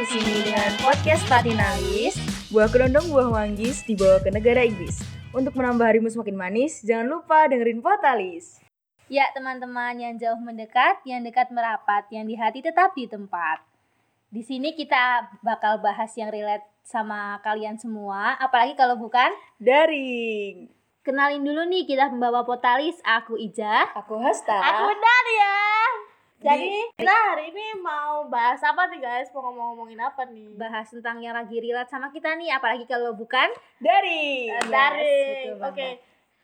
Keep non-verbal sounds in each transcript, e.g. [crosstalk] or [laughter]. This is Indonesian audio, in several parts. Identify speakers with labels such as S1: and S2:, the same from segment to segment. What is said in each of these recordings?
S1: sini dengan podcast Latinalis.
S2: Buah kerondong, buah manggis dibawa ke negara Inggris. Untuk menambah harimu semakin manis, jangan lupa dengerin Potalis.
S1: Ya teman-teman yang jauh mendekat, yang dekat merapat, yang di hati tetap di tempat. Di sini kita bakal bahas yang relate sama kalian semua, apalagi kalau bukan.
S2: Daring.
S1: Kenalin dulu nih kita pembawa potalis, aku Ija.
S2: Aku Hasta.
S1: Nadia.
S3: ya. Jadi kita hari ini mau bahas apa nih guys? Mau ngomong-ngomongin apa nih?
S1: Bahas tentang yang lagi relate sama kita nih, apalagi kalau bukan.
S2: Daring.
S3: Eh,
S1: Yes, betul
S3: Daring.
S1: banget.
S3: Oke.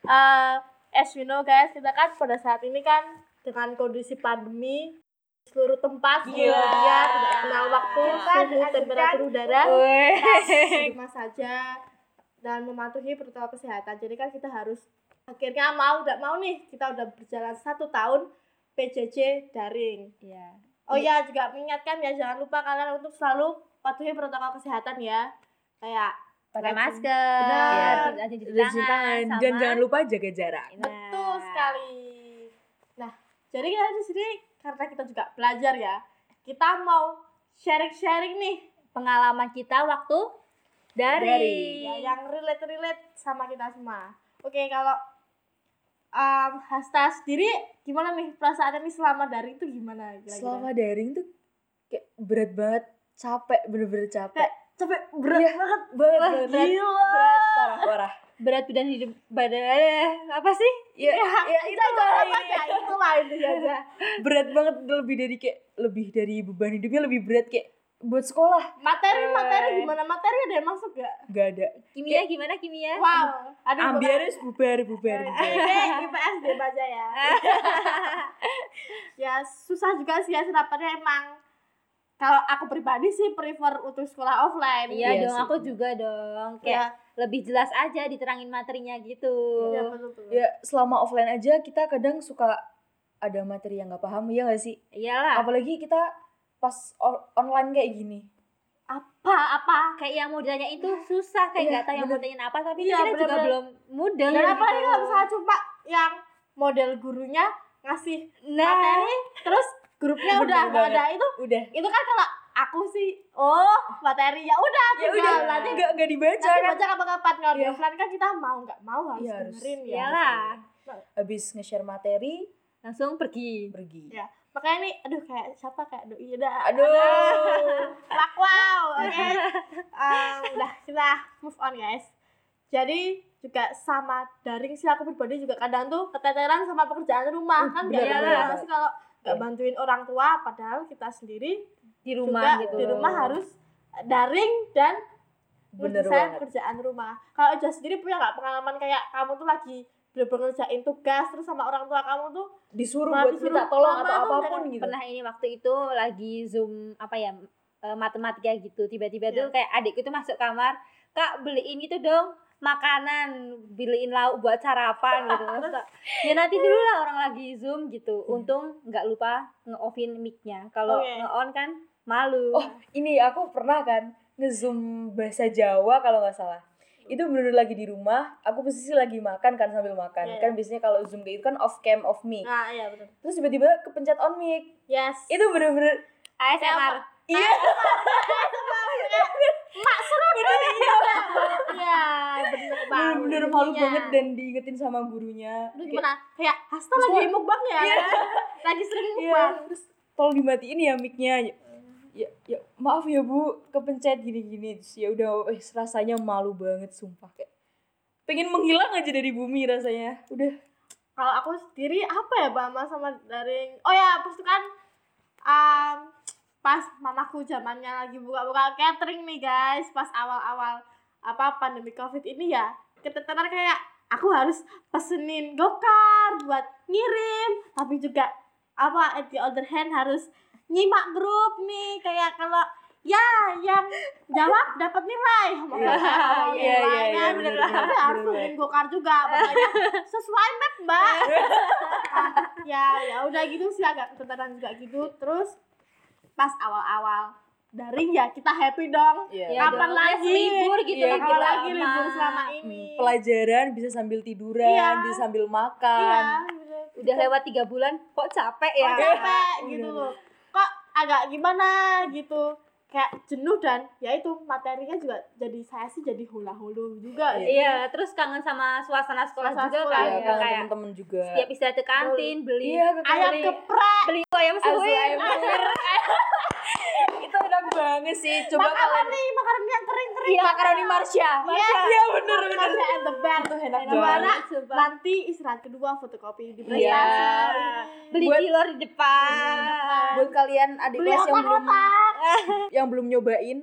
S3: Eh, as you know guys, kita kan pada saat ini kan dengan kondisi pandemi seluruh tempat
S2: Gila.
S1: Iya.
S3: seluruh dunia tidak kenal waktu
S2: Kan,
S3: suhu
S2: kan.
S3: temperatur udara
S1: Oh.
S3: kan?
S2: Weh. [laughs]
S1: [laughs]
S3: di rumah saja dan mematuhi protokol kesehatan jadi kan kita harus akhirnya mau tidak mau nih kita udah berjalan satu tahun PJJ daring
S1: Iya.
S3: Oh ya juga mengingatkan ya jangan lupa kalian untuk selalu patuhi protokol kesehatan ya. Kayak
S1: Pakai
S3: Rajin.
S1: masker.
S3: Benar.
S1: Jangan cuci
S2: Cuci
S1: tangan.
S2: tangan.
S1: sama-
S2: Dan kan? jangan lupa jaga jarak.
S1: Nah.
S3: betul sekali. Nah, jadi kita di sini karena kita juga belajar ya. Kita mau sharing-sharing nih
S1: Pengalaman kita waktu dari.
S2: Daring.
S3: ya, yang relate-relate sama kita semua. Oke, kalau um, Hasta sendiri gimana nih perasaannya nih selama dari itu gimana? Kira-kira?
S2: Selama daring tuh kayak berat banget, capek, bener-bener capek.
S3: Kayak capek berat
S2: Iya,
S3: banget.
S2: Berat,
S3: Wah,
S2: berat, berat,
S3: gila.
S2: parah, parah.
S1: Berat badan hidup badan apa sih?
S2: Ya, ya,
S3: Iya, itu aja apa ya? Itu lain aja.
S2: berat banget lebih dari kayak lebih dari beban hidupnya lebih berat kayak buat sekolah
S3: materi materi
S2: Eh.
S3: gimana materi ada yang masuk gak?
S2: gak ada
S1: Kimia gimana kimia?
S3: Wow, ada
S2: ambiaris bubar bubar,
S3: Eh.
S2: bubar.
S3: IPS deh aja ya. ya susah juga sih ya serapannya emang. Kalau aku pribadi sih prefer untuk sekolah offline.
S2: Iya
S1: Iya dong,
S2: sih.
S1: aku juga dong.
S3: Ya,
S1: Kayak lebih jelas aja diterangin materinya gitu.
S3: ya, betul, betul.
S2: ya selama offline aja kita kadang suka ada materi yang nggak paham ya gak sih
S3: Iya.
S1: Iyalah.
S2: apalagi kita pas o- online kayak gini
S1: Apa apa kayak yang mau ditanyain itu susah kayak
S2: Iya,
S1: nggak tahu yang mau
S2: bener.
S1: tanyain apa tapi
S3: Iya,
S1: kita juga
S3: bener-bener.
S1: belum mudah.
S3: Dan apalagi
S1: gitu.
S3: kalau misalnya cuma yang model gurunya ngasih
S1: Nah,
S3: materi, terus grupnya
S2: Bener
S3: udah nggak
S2: banget.
S3: ada itu,
S2: udah
S3: itu kan kalau aku sih, oh materi ya udah,
S2: ya
S3: tinggal
S2: udah
S3: nanti
S2: nggak nggak dibaca
S3: nanti
S2: kan
S3: baca kapan-kapan kalau di
S2: Iya.
S3: offline kan kita mau nggak mau harus
S2: Iya, harus.
S3: dengerin ya
S1: iyalah.
S2: habis nge-share materi
S1: Langsung pergi.
S2: pergi
S3: Iya. makanya nih aduh kayak siapa kayak aduh iya dah
S2: aduh
S3: Wak, wow oke
S2: [laughs]
S3: Em, udah kita move on guys jadi juga sama daring sih aku pribadi juga kadang tuh keteteran sama pekerjaan rumah
S2: Uh,
S3: kan
S2: bener,
S3: gak ada
S1: bener,
S3: apa-apa
S2: bener.
S3: sih kalau nggak
S2: Iya.
S3: bantuin orang tua padahal kita sendiri
S1: [laughs] Di rumah
S3: juga
S1: gitu.
S3: di rumah harus daring dan
S2: bener
S3: menurut saya
S2: banget
S3: pekerjaan rumah kalau Eja sendiri punya nggak pengalaman kayak kamu tuh lagi bener-bener ngerjain tugas terus sama orang tua kamu tuh
S2: disuruh
S3: Malah
S2: buat
S3: disuruh
S2: minta tolong
S3: mama
S2: atau
S3: tuh
S2: apapun gitu
S1: pernah ini waktu itu lagi zoom apa ya e, matematika gitu tiba-tiba
S3: Ya.
S1: tuh kayak adikku tuh masuk kamar kak beliin gitu dong makanan beliin lauk buat sarapan
S3: [laughs]
S1: gitu Terus kak, ya nanti dulu lah orang lagi zoom gitu untung nggak lupa nge-offin mic-nya kalau
S3: Iya. Oke.
S1: nge-on kan malu
S2: Oh, ini aku pernah kan ngezoom bahasa Jawa kalau nggak salah itu bener lagi di rumah aku posisi lagi makan kan sambil makan
S3: Iya,
S2: kan biasanya kalau zoom kayak gitu kan off cam off mic
S3: nah iya betul
S2: terus tiba-tiba kepencet on mic
S3: yes
S2: itu bener-bener
S1: ASMR
S2: iya
S3: iya bener banget
S2: bener-bener malu
S3: Iya.
S2: banget dan diingetin sama gurunya
S3: Aduh,
S2: Kayak,
S3: gimana kayak Hasta lagi mukbang ya
S2: Iya.
S3: [laughs] lagi sering
S2: iya
S3: mukbang
S2: terus tolong dimatiin ya micnya ya, ya maaf ya bu kepencet gini-gini Terus ya udah eh, rasanya malu banget sumpah kayak pengen menghilang aja dari bumi rasanya udah
S3: kalau aku sendiri apa ya mama sama daring oh ya pas itu kan um, pas mamaku zamannya lagi buka-buka catering nih guys pas awal-awal apa pandemi covid ini ya keteteran kayak aku harus pesenin gokar buat ngirim tapi juga apa at the other hand harus nyimak grup nih kayak kalau ya yang jawab dapat nilai makanya kalau
S2: Iya, iya,
S3: nilai
S2: iya,
S3: kan,
S2: bener,
S3: tapi
S2: bener,
S3: harus
S2: bener.
S3: nungguin gokar
S2: [laughs]
S3: juga makanya sesuai map mbak ya ya udah gitu sih agak keteteran juga gitu terus pas awal-awal daring ya kita happy dong
S1: Ya
S3: kapan
S1: dong,
S3: lagi?
S1: ya libur gitu
S2: Iya,
S1: loh,
S3: kapan
S2: kita Hmm,
S3: lagi
S1: lama.
S3: libur selama ini
S2: pelajaran bisa sambil tiduran
S3: Iya.
S2: bisa sambil
S3: iya
S2: makan
S3: bener.
S1: udah lewat tiga
S2: Iya.
S1: bulan kok capek
S3: Kok
S1: ya
S3: capek gitu loh kok agak gimana gitu kayak jenuh dan ya itu materinya juga jadi saya sih jadi hula hulu juga sih.
S1: Iya, terus kangen sama suasana sekolah
S3: Suasana
S1: juga
S3: sekolah,
S1: kan.
S2: Iya,
S1: ya,
S2: kangen
S1: kayak
S2: temen-temen juga.
S1: setiap istirahat ke kantin beli
S2: Iya, ke
S3: ayam
S2: kantin.
S3: geprek
S1: beli ayam
S2: Asu
S1: suwir. Ah,
S2: ayam geprek. [laughs] Itu enak banget sih. Coba
S3: apa
S2: kalian
S3: nih makaroni yang kering kering
S2: Iya, makaroni Marsha.
S3: Iya.
S2: Iya, bener bener.
S3: Makaroni and the best
S2: Itu enak
S3: Gimana?
S2: banget.
S1: Banget, sumpah.
S3: nanti istirahat kedua fotokopi di prestasi
S2: Iya.
S1: Beli
S2: Buat-
S1: kilor di depan.
S2: Buat kalian adik
S3: beli
S2: kelas yang belum
S3: otak-otak
S2: yang belum [laughs] nyobain,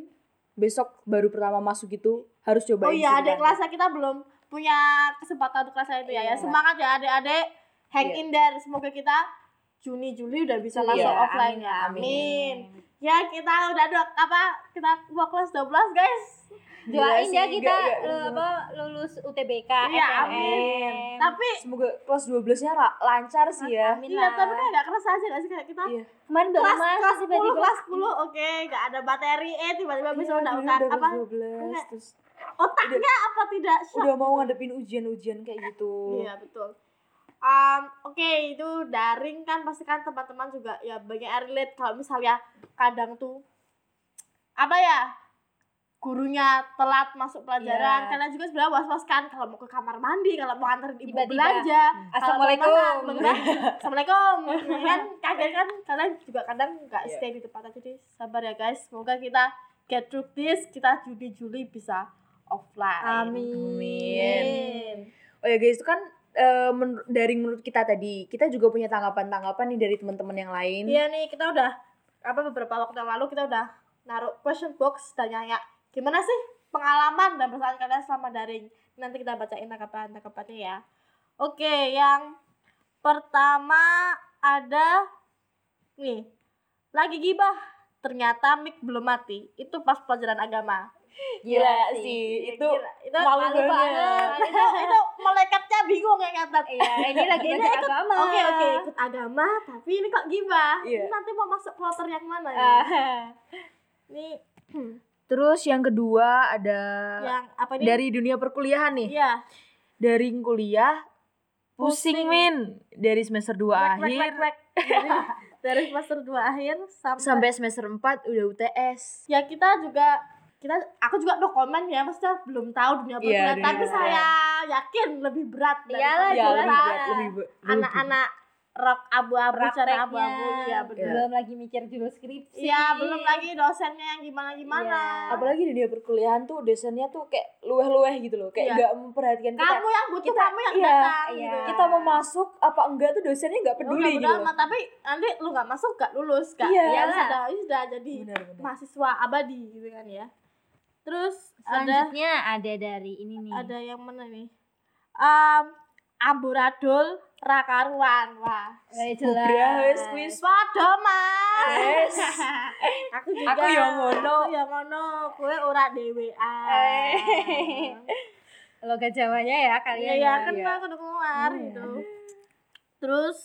S2: besok baru pertama masuk gitu harus
S3: oh
S2: cobain.
S3: iya
S2: adik
S3: adik kelasnya kita belum punya kesempatan untuk kelasnya itu ya, ya
S2: Iya.
S3: semangat ya adik-adik hang
S2: Iya.
S3: in there semoga kita Juni Juli udah bisa masuk
S2: Iya,
S3: offline ya
S2: amin.
S3: amin. ya kita udah dok apa kita mau kelas 12 guys
S2: Iya
S1: Doain ya kita
S2: apa
S1: eh, apa lulus UTBK,
S3: Iya,
S1: SNM.
S2: amin.
S3: tapi
S2: Semoga kelas 12-nya ra- lancar sih ya.
S1: Amin
S3: iya
S1: lah.
S3: tapi kan nggak kerasa aja nggak sih kayak kita
S2: Iya.
S1: Kemarin baru
S3: kelas kelas
S1: masuk
S3: 10
S1: tiba-tiba.
S3: kelas 10 oke nggak ada materi eh tiba-tiba
S2: Iya,
S3: bisa udah udah apa Enggak.
S2: 12 terus
S3: otaknya apa tidak shock
S2: udah mau ngadepin ujian-ujian kayak gitu.
S3: Iya betul. Um, Oke itu daring kan pasti kan teman-teman juga ya banyak yang relate kalau misalnya kadang tuh apa ya gurunya telat masuk pelajaran
S2: Iya.
S3: karena juga sebenarnya was-was kan kalau mau ke kamar mandi kalau mau anterin ibu
S1: Tiba-tiba.
S3: belanja
S1: Assalamualaikum.
S3: kalau temenan, beneran, assalamualaikum kan kaget kan kalian juga kadang nggak
S2: Iya.
S3: stay di tempat aja jadi sabar ya guys semoga kita get through this kita Juni Juli bisa offline
S2: Amin. Oh ya guys, itu kan eh, menur- dari menurut kita tadi, kita juga punya tanggapan-tanggapan nih dari teman-teman yang lain.
S3: Iya nih kita udah apa beberapa waktu yang lalu kita udah naruh question box dan nanya gimana sih pengalaman dan perasaan kalian selama daring. Nanti kita bacain tangkapan-tangkapannya ya. Oke, yang pertama ada nih lagi gibah ternyata mic belum mati itu pas pelajaran agama
S1: Gila sih.
S2: sih.
S3: Ya,
S2: Itu
S3: gila. itu
S2: malu banget.
S3: [laughs] itu, itu malaikatnya bingung yang Eh. nyatat
S1: Iya,
S3: [laughs]
S1: ini lagi
S3: Ini
S1: belajar agama.
S3: Oke oke ikut agama tapi ini kok gibah.
S2: Iya.
S3: Ini nanti mau masuk kloter yang mana ya?
S1: Ah.
S3: Ini
S2: Terus yang kedua ada
S3: yang apa Ya, ini?
S2: Eh, dari dunia perkuliahan nih.
S3: Iya.
S2: Dari kuliah pusing,
S3: Pusing.
S2: Min. Dari semester 2
S3: Wek,
S2: akhir
S3: wek, wek, wek. Dari, dari semester 2 akhir sampai,
S2: sampai semester 4 udah UTS.
S3: ya kita juga kita aku juga no comment ya maksudnya belum tahu
S2: Iya,
S3: dunia perkuliahan
S2: dunia
S3: tapi saya yakin lebih berat
S1: Iyalah,
S3: daripada
S1: jelas.
S3: kita.
S2: Iya, lebih berat, lebih be-
S3: anak-anak rok abu-abu cara
S1: Prakteknya.
S3: abu-abu ya
S2: Iya.
S3: benar.
S1: Belum lagi mikir judul skripsi.
S3: Ya belum lagi dosennya yang gimana gimana.
S1: Iya.
S2: apalagi dunia perkuliahan tuh dosennya tuh kayak luweh-luweh gitu loh kayak
S3: Iya.
S2: nggak memperhatikan kita
S3: Kamu yang butuh
S2: kita-
S3: kamu yang
S2: iya,
S3: datang
S1: iya.
S3: gitu. Oh,
S2: kita mau masuk apa enggak tuh dosennya nggak
S3: Udah,
S2: peduli
S3: udah
S2: gitu loh.
S3: amat, tapi nanti lu nggak masuk gak lulus gak
S2: Iya.
S3: ya sudah sudah jadi
S2: Benar-benar.
S3: mahasiswa abadi gitu kan ya terus ada
S1: Selanjutnya ada dari ini nih.
S3: ada yang mana nih um, amburadul rakaruan wah
S1: Eh,
S2: Kubra, wes,
S1: jelas.
S2: kuis.
S3: Swado mas
S1: [laughs]
S2: Yes.
S3: aku juga
S2: Aku ya ngono.
S3: aku ya ngono kue ora dwa
S1: Eh. Logat Jawanya ya
S3: Iya
S1: kalian.
S3: ya
S1: ya.
S3: kan
S2: iya.
S3: Pak, kudu keluar
S2: Iya.
S3: gitu. Terus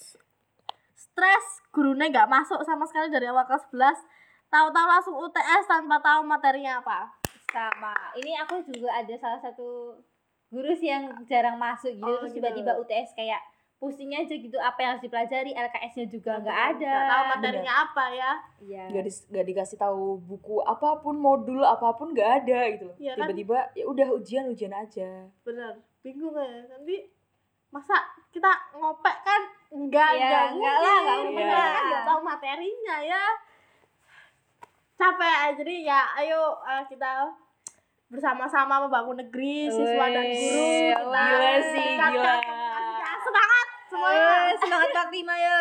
S3: stres gurunya nggak masuk sama sekali dari awal kelas 11 tahu-tahu langsung UTS tanpa tahu materinya apa.
S1: sama ini aku juga ada salah satu guru sih yang jarang masuk gitu
S3: Oh,
S1: terus
S3: gitu.
S1: tiba-tiba UTS kayak pusingnya aja gitu apa yang harus dipelajari LKS-nya juga nggak ada
S3: Nggak tahu materinya apa ya.
S1: iya
S2: nggak dis- nggak dikasih tahu buku apapun modul apapun nggak ada gitu loh
S3: Iya kan?
S2: tiba-tiba ya udah ujian ujian aja
S3: Bener, bingung ya. Nanti masa kita ngopek kan enggak
S1: Iya,
S3: enggak
S1: nggak lah, nggak
S3: mungkin.
S2: mungkin.
S3: Bener, kan nggak tahu materinya ya. Capek jadi ya ayo eh, kita bersama-sama membangun negeri siswa dan
S2: Wih,
S3: guru kita
S2: gila sih,
S3: tingkatkan
S2: gila.
S3: komunikasinya. semangat semuanya
S1: Eh, semangat Pak Prima yo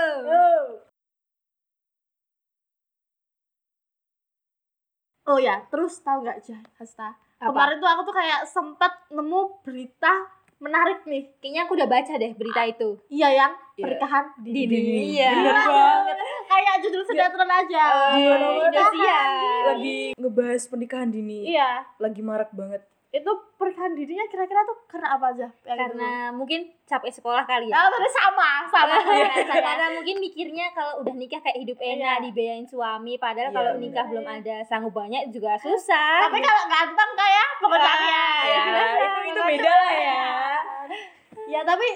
S3: oh ya terus tahu nggak Jah Hasta
S2: apa
S3: kemarin tuh aku tuh kayak sempet nemu berita menarik nih
S1: kayaknya aku udah baca deh berita itu
S3: iya yang
S2: Iya.
S3: pernikahan dini
S1: Dini.
S2: Iya. Oh,
S3: Bener
S2: bener banget
S3: kayak judul sinetron aja
S2: Di-
S1: Indonesia
S2: Iya. lagi ngebahas pernikahan dini
S3: iya
S2: lagi marak banget
S3: itu pernikahan dininya kira-kira tuh karena apa aja
S1: karena mungkin capek sekolah kali
S2: iya.
S1: ya Iya,
S3: ya tadi sama sama saya.
S1: karena mungkin mikirnya kalau udah nikah kayak hidup enak
S3: Iya.
S1: dibiayain suami padahal
S2: Iya,
S1: kalau
S2: bener.
S1: nikah belum ada sanggup banyak juga susah
S3: tapi kalau ganteng
S2: Iya.
S3: Iya, kayak pengecualian
S2: ya, itu itu beda lah ya
S3: ya tapi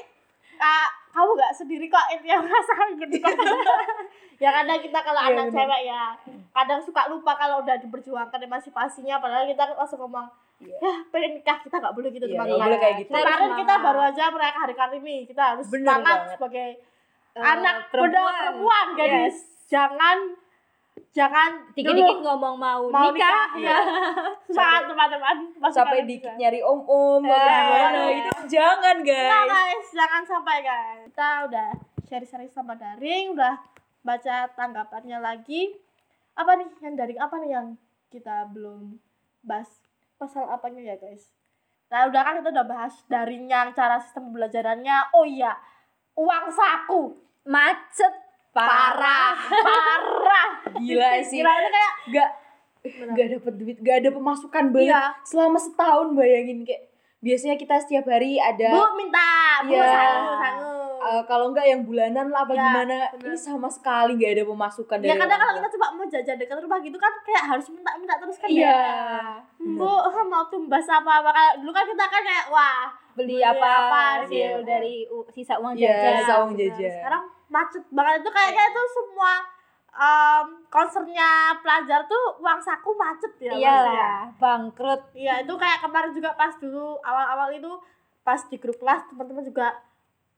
S3: kak kamu gak sendiri kok intinya [laughs] perasaan gitu kan
S2: [laughs]
S3: ya kadang kita kalau
S2: Iya,
S3: anak
S2: bener.
S3: cewek ya kadang suka lupa kalau udah diperjuangkan emansipasinya padahal kita langsung ngomong
S2: Iya.
S3: ya pengen nikah kita gak boleh gitu
S2: Iya, nggak
S3: teman-teman
S2: boleh kayak gitu.
S1: Harus
S3: kemarin kita
S1: semangat.
S3: baru aja merayakan hari kartini kita harus
S2: Bener
S3: semangat
S2: banget. Iya.
S3: sebagai
S1: Eh,
S3: anak perempuan. perempuan gadis jangan jangan
S1: Dikit-dikit
S3: dulu
S1: ngomong mau,
S3: mau
S1: nikah. Iya.
S3: nikah, ya [laughs] semangat teman-teman Masuk
S2: Iya. sampai
S3: kalian
S2: dikit
S3: juga.
S2: nyari om om
S1: Eh,
S2: gimana
S3: iya.
S2: gitu jangan
S3: Nah,
S2: guys
S3: guys, jangan sampai guys. Kita udah sharing-sharing sama daring, udah baca tanggapannya lagi. Apa nih yang daring apa nih yang kita belum bahas pasal apanya ya guys? Nah, udah kan kita udah bahas daring yang cara sistem pembelajarannya. Oh iya, uang saku
S1: Macet parah.
S3: parah.
S2: gila sih
S3: Gila ini kayak
S2: gak gak dapet duit gak ada pemasukan banyak
S3: Iya.
S2: selama setahun bayangin kayak biasanya kita setiap hari
S3: Bu
S2: ada
S3: minta, Bu
S2: ya. Iya.
S3: sangu, sangu.
S2: eh, kalau enggak yang bulanan lah apa
S3: Iya,
S2: gimana
S3: bener.
S2: ini sama sekali gak ada pemasukan dari
S3: ya kadang
S2: orang
S3: kalau
S2: tua.
S3: kita coba mau jajan dekat rumah gitu kan kayak harus minta-minta terus kan
S2: Iya.
S3: Bu [laughs] mau tumbas apa apa Kalau dulu kan kita kan kayak wah
S1: Beli
S3: Beli
S1: apa,
S3: apa,
S1: gitu,
S3: gitu.
S1: dari u- Iya, sisa uang
S2: Iya,
S1: jajan.
S2: sisa uang
S3: benar.
S2: jajan.
S3: ya, Sekarang macet banget itu kayaknya itu semua em konsernya pelajar tuh uang saku macet
S2: Iya.
S3: ya. Mas, ya.
S1: Iyalah, Iya bangkrut.
S3: Iya itu kayak kemarin juga pas dulu awal-awal itu pas di grup kelas teman-teman juga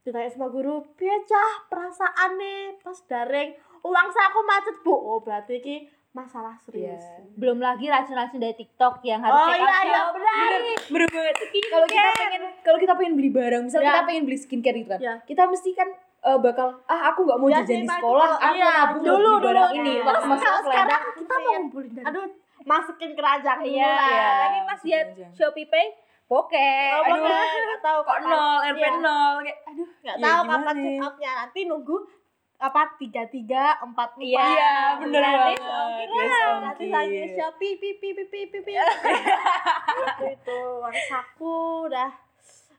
S3: ditanya sama guru, "Piacah perasaan nih pas daring uang saku macet, Bu." Oh, berarti ini masalah serius.
S2: Iya.
S1: Belum lagi racun-racun dari TikTok yang harus
S3: Oh
S1: check
S3: iya
S1: out
S3: iya
S1: shop.
S3: benar.
S2: Bener banget. Kalau kita pengen kalau kita pengen beli barang, misal kita
S3: Ya.
S2: pengen beli skincare gitu kan.
S3: Ya.
S2: Kita mesti kan eh, bakal ah aku nggak mau
S3: Ya
S2: jajan
S3: sih,
S2: di
S3: Pak,
S2: sekolah,
S3: itu.
S2: aku
S3: Iya,
S2: nabung buat
S3: dulu,
S2: beli barang
S3: dulu.
S2: ini.
S3: Iya.
S2: Terus
S3: Terus
S2: masuk
S3: kalau
S2: selendang,
S3: sekarang kita mau ngumpulin dana. Aduh, masukin keranjang dulu
S1: Iya,
S3: lah.
S2: iya.
S1: tapi pas lihat
S2: Jangan.
S1: Shopee Pay, bokeh.
S3: Aduh,
S2: Aduh.
S3: nggak tahu
S2: kok nol, RP
S3: Iya.
S2: nol kayak aduh
S3: Nggak
S2: ya
S3: tahu
S2: gimana
S3: kapan
S2: ya?
S3: check outnya nanti nunggu apa tiga tiga empat empat. Nah,
S1: Iya,
S2: Iya, bener
S1: Gratis
S2: banget.
S1: ongkir
S2: Gratis
S3: Nanti
S2: ongkir.
S3: lagi shopee pi pi pi pi pi pi.
S1: Eh,
S3: Itu uang saku udah.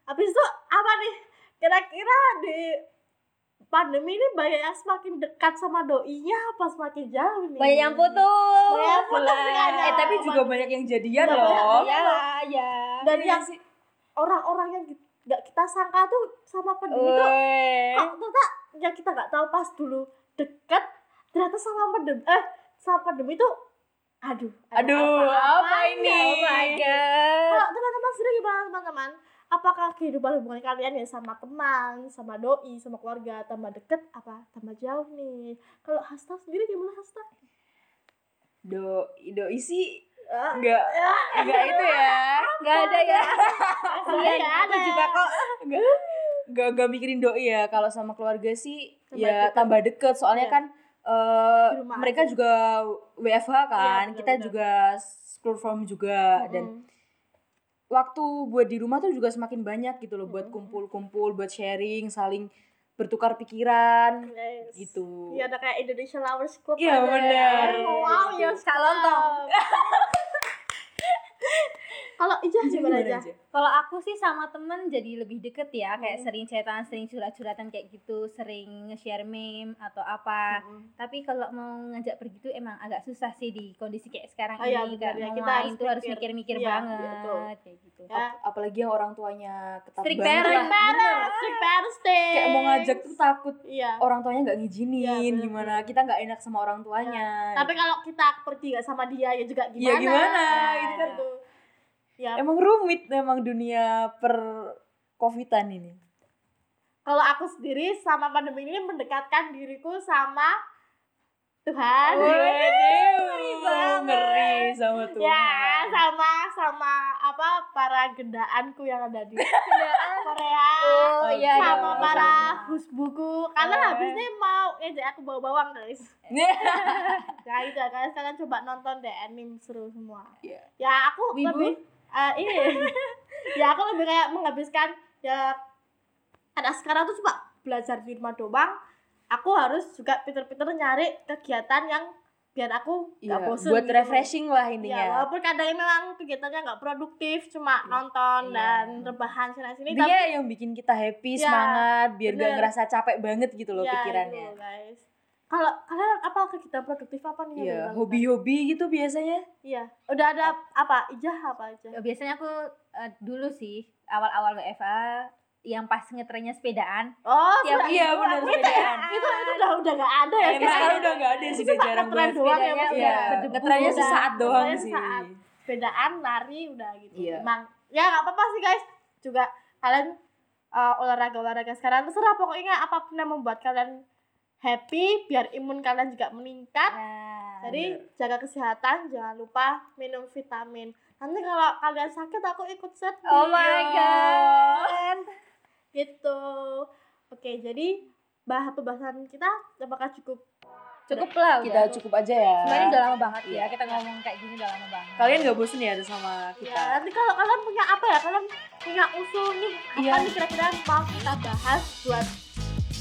S3: Habis itu apa nih? Kira-kira di pandemi ini banyak yang semakin dekat sama doinya apa semakin jauh nih?
S1: Banyak yang putus.
S3: Banyak yang putus,
S1: Lah.
S3: ada.
S2: Eh tapi juga banyak yang jadian
S3: Iya,
S2: loh.
S3: banyak.
S1: Iya lah, ya.
S3: Dan
S2: Iya
S3: yang
S2: sih.
S3: orang-orang yang gi- nggak kita sangka tuh sama
S1: Iya.
S3: pandemi tuh
S1: Weh.
S3: kok ternyata ya kita nggak tahu pas dulu deket ternyata sama pandemi eh sama pandemi tuh aduh ada
S2: Aduh, eh. apa
S3: apa-apanya.
S2: ini?
S1: Oh my god.
S3: kalau teman-teman sendiri gimana teman-teman apakah kehidupan hubungan kalian ya sama teman sama doi sama keluarga tambah deket apa tambah jauh nih kalau hasta sendiri gimana hasta
S2: Do, doi sih
S3: Eh,
S2: enggak enggak itu ya.
S1: Gak ada ya.
S3: Nggak
S1: Kasihan
S3: ada.
S1: aku juga kok.
S2: Enggak enggak mikirin doi ya. Kalau sama keluarga sih
S3: Tambah
S2: ya
S3: deket.
S2: tambah deket soalnya
S3: Iya.
S2: kan eh,
S3: Di rumah
S2: mereka
S3: aja.
S2: juga WFH kan.
S3: Iya,
S2: Kita
S3: benar-benar.
S2: juga school from juga dan
S3: Mm-mm.
S2: waktu buat di rumah tuh juga semakin banyak gitu loh buat
S3: Mm-mm.
S2: kumpul-kumpul, buat sharing, saling bertukar pikiran
S3: Yes.
S2: gitu.
S3: Iya ada kayak Indonesia Lovers Club
S2: Iya,
S3: aja.
S2: bener.
S3: Wow ya
S1: Kak Lontong.
S3: [laughs] Kalau Ija gimana Ija?
S2: aja?
S1: Kalau aku sih sama temen jadi lebih deket ya, kayak
S3: Hmm.
S1: sering chatan, sering curhat-curhatan kayak gitu, sering nge-share meme atau apa.
S3: Hmm.
S1: Tapi kalau mau ngajak pergi tuh emang agak susah sih di kondisi kayak sekarang
S3: Oh iya,
S1: ini. Kayak
S3: benar ya,
S1: mau
S3: kita
S1: main
S3: harus
S1: tuh harus
S3: mikir.
S1: mikir-mikir
S3: Iya,
S1: banget
S3: betul.
S1: kayak gitu.
S3: Ya.
S2: Ap- apalagi yang orang tuanya ketat
S1: Strict
S2: banget
S1: parent.
S2: lah.
S3: Parents, strict parents deh.
S2: kayak mau ngajak tuh Oh, takut
S3: Iya.
S2: orang tuanya nggak
S3: Iya,
S2: ngizinin
S3: bener.
S2: gimana kita nggak enak sama orang tuanya
S3: Tapi kalau kita pergi gak sama dia ya juga gimana?
S2: Iya, gimana,
S3: Nah,
S2: gitu kan.
S3: itu. Ya,
S2: emang rumit memang dunia per covidan ini
S3: kalau aku sendiri sama pandemi ini mendekatkan diriku sama Tuhan.
S2: Oh, iya. Waduh,
S3: banget.
S2: ngeri sama Tuhan
S3: Ya, sama sama apa para gendaanku yang ada di Korea.
S1: Oh iya,
S2: iya, iya,
S3: sama para
S1: sama.
S3: husbuku karena
S2: Eh.
S3: habis ini mau ngejek aku bawa bawang guys
S2: Iya,
S3: ya itu ya, guys kalian coba nonton deh anime seru semua
S2: Iya.
S3: ya aku
S1: Wibu?
S3: lebih eh,
S2: [laughs]
S3: ini ya aku lebih kayak menghabiskan ya anak sekarang tuh cuma belajar di rumah doang aku harus juga pinter-pinter nyari kegiatan yang biar aku
S2: Iya,
S3: nggak bosen
S2: buat
S3: gitu.
S2: refreshing lah
S3: Ya,
S2: intinya
S3: walaupun kadang memang kegiatannya nggak produktif, cuma
S2: Iya.
S3: nonton dan rebahan sini-sini.
S2: dia yang bikin kita happy
S3: Iya,
S2: semangat biar nggak
S3: bener.
S2: ngerasa capek banget gitu loh
S3: Ya,
S2: pikirannya
S3: itu, guys. Kalau kalian apa kegiatan produktif apa nih? yang
S2: Iya,
S3: dilakukan?
S2: hobi-hobi gitu biasanya.
S3: Iya. Udah ada
S1: iya. Oh,
S3: apa? Ijah apa aja?
S1: Ya, biasanya aku eh, dulu sih awal-awal WFA yang pas ngetrennya sepedaan.
S3: Oh,
S1: Tiap
S3: sudah-
S2: iya,
S1: minggu
S2: benar,
S1: aku
S2: sepedaan.
S1: sepedaan.
S3: itu itu udah udah gak ada ya
S2: Emang
S1: kayak-
S2: sekarang udah gak ada sih, udah
S3: cuma
S2: jarang
S3: ngetren
S2: banget.
S3: doang ya,
S1: sepedanya,
S3: Mas,
S2: Iya,
S1: ya. berdebu
S2: ngetrennya
S1: udah.
S2: sesaat doang
S3: Ngetrennya
S2: sih.
S3: sesaat. bedaan lari udah gitu
S2: Iya.
S3: emang ya nggak apa-apa sih guys juga kalian uh, olahraga olahraga sekarang terserah pokoknya apapun yang membuat kalian happy biar imun kalian juga meningkat
S1: Nah,
S3: jadi jaga kesehatan jangan lupa minum vitamin nanti kalau kalian sakit aku ikut sedih
S1: Oh my god.
S3: gitu oke jadi bahas pembahasan kita apakah cukup
S1: Cukup lah
S2: Kita
S1: udah.
S2: cukup aja ya.
S1: Iya. Sebenarnya udah lama banget ya
S2: Iya.
S1: kita ngomong kayak gini udah lama banget.
S2: Kalian gak bosen ya sama
S3: Ya,
S2: kita?
S1: Iya.
S3: nanti kalau kalian punya apa ya? Kalian punya usul nih apa
S2: Iya.
S3: nih kira-kira yang mau kita bahas buat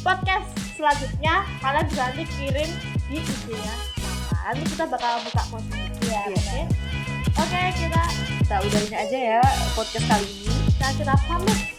S3: podcast selanjutnya? Kalian bisa nanti kirim di IG ya. Nah, nanti kita bakal buka posting.
S1: Iya,
S3: Oke.
S1: benar.
S3: Oke, kita
S2: Kita udahin aja ya podcast kali ini.
S3: kita kita pamit.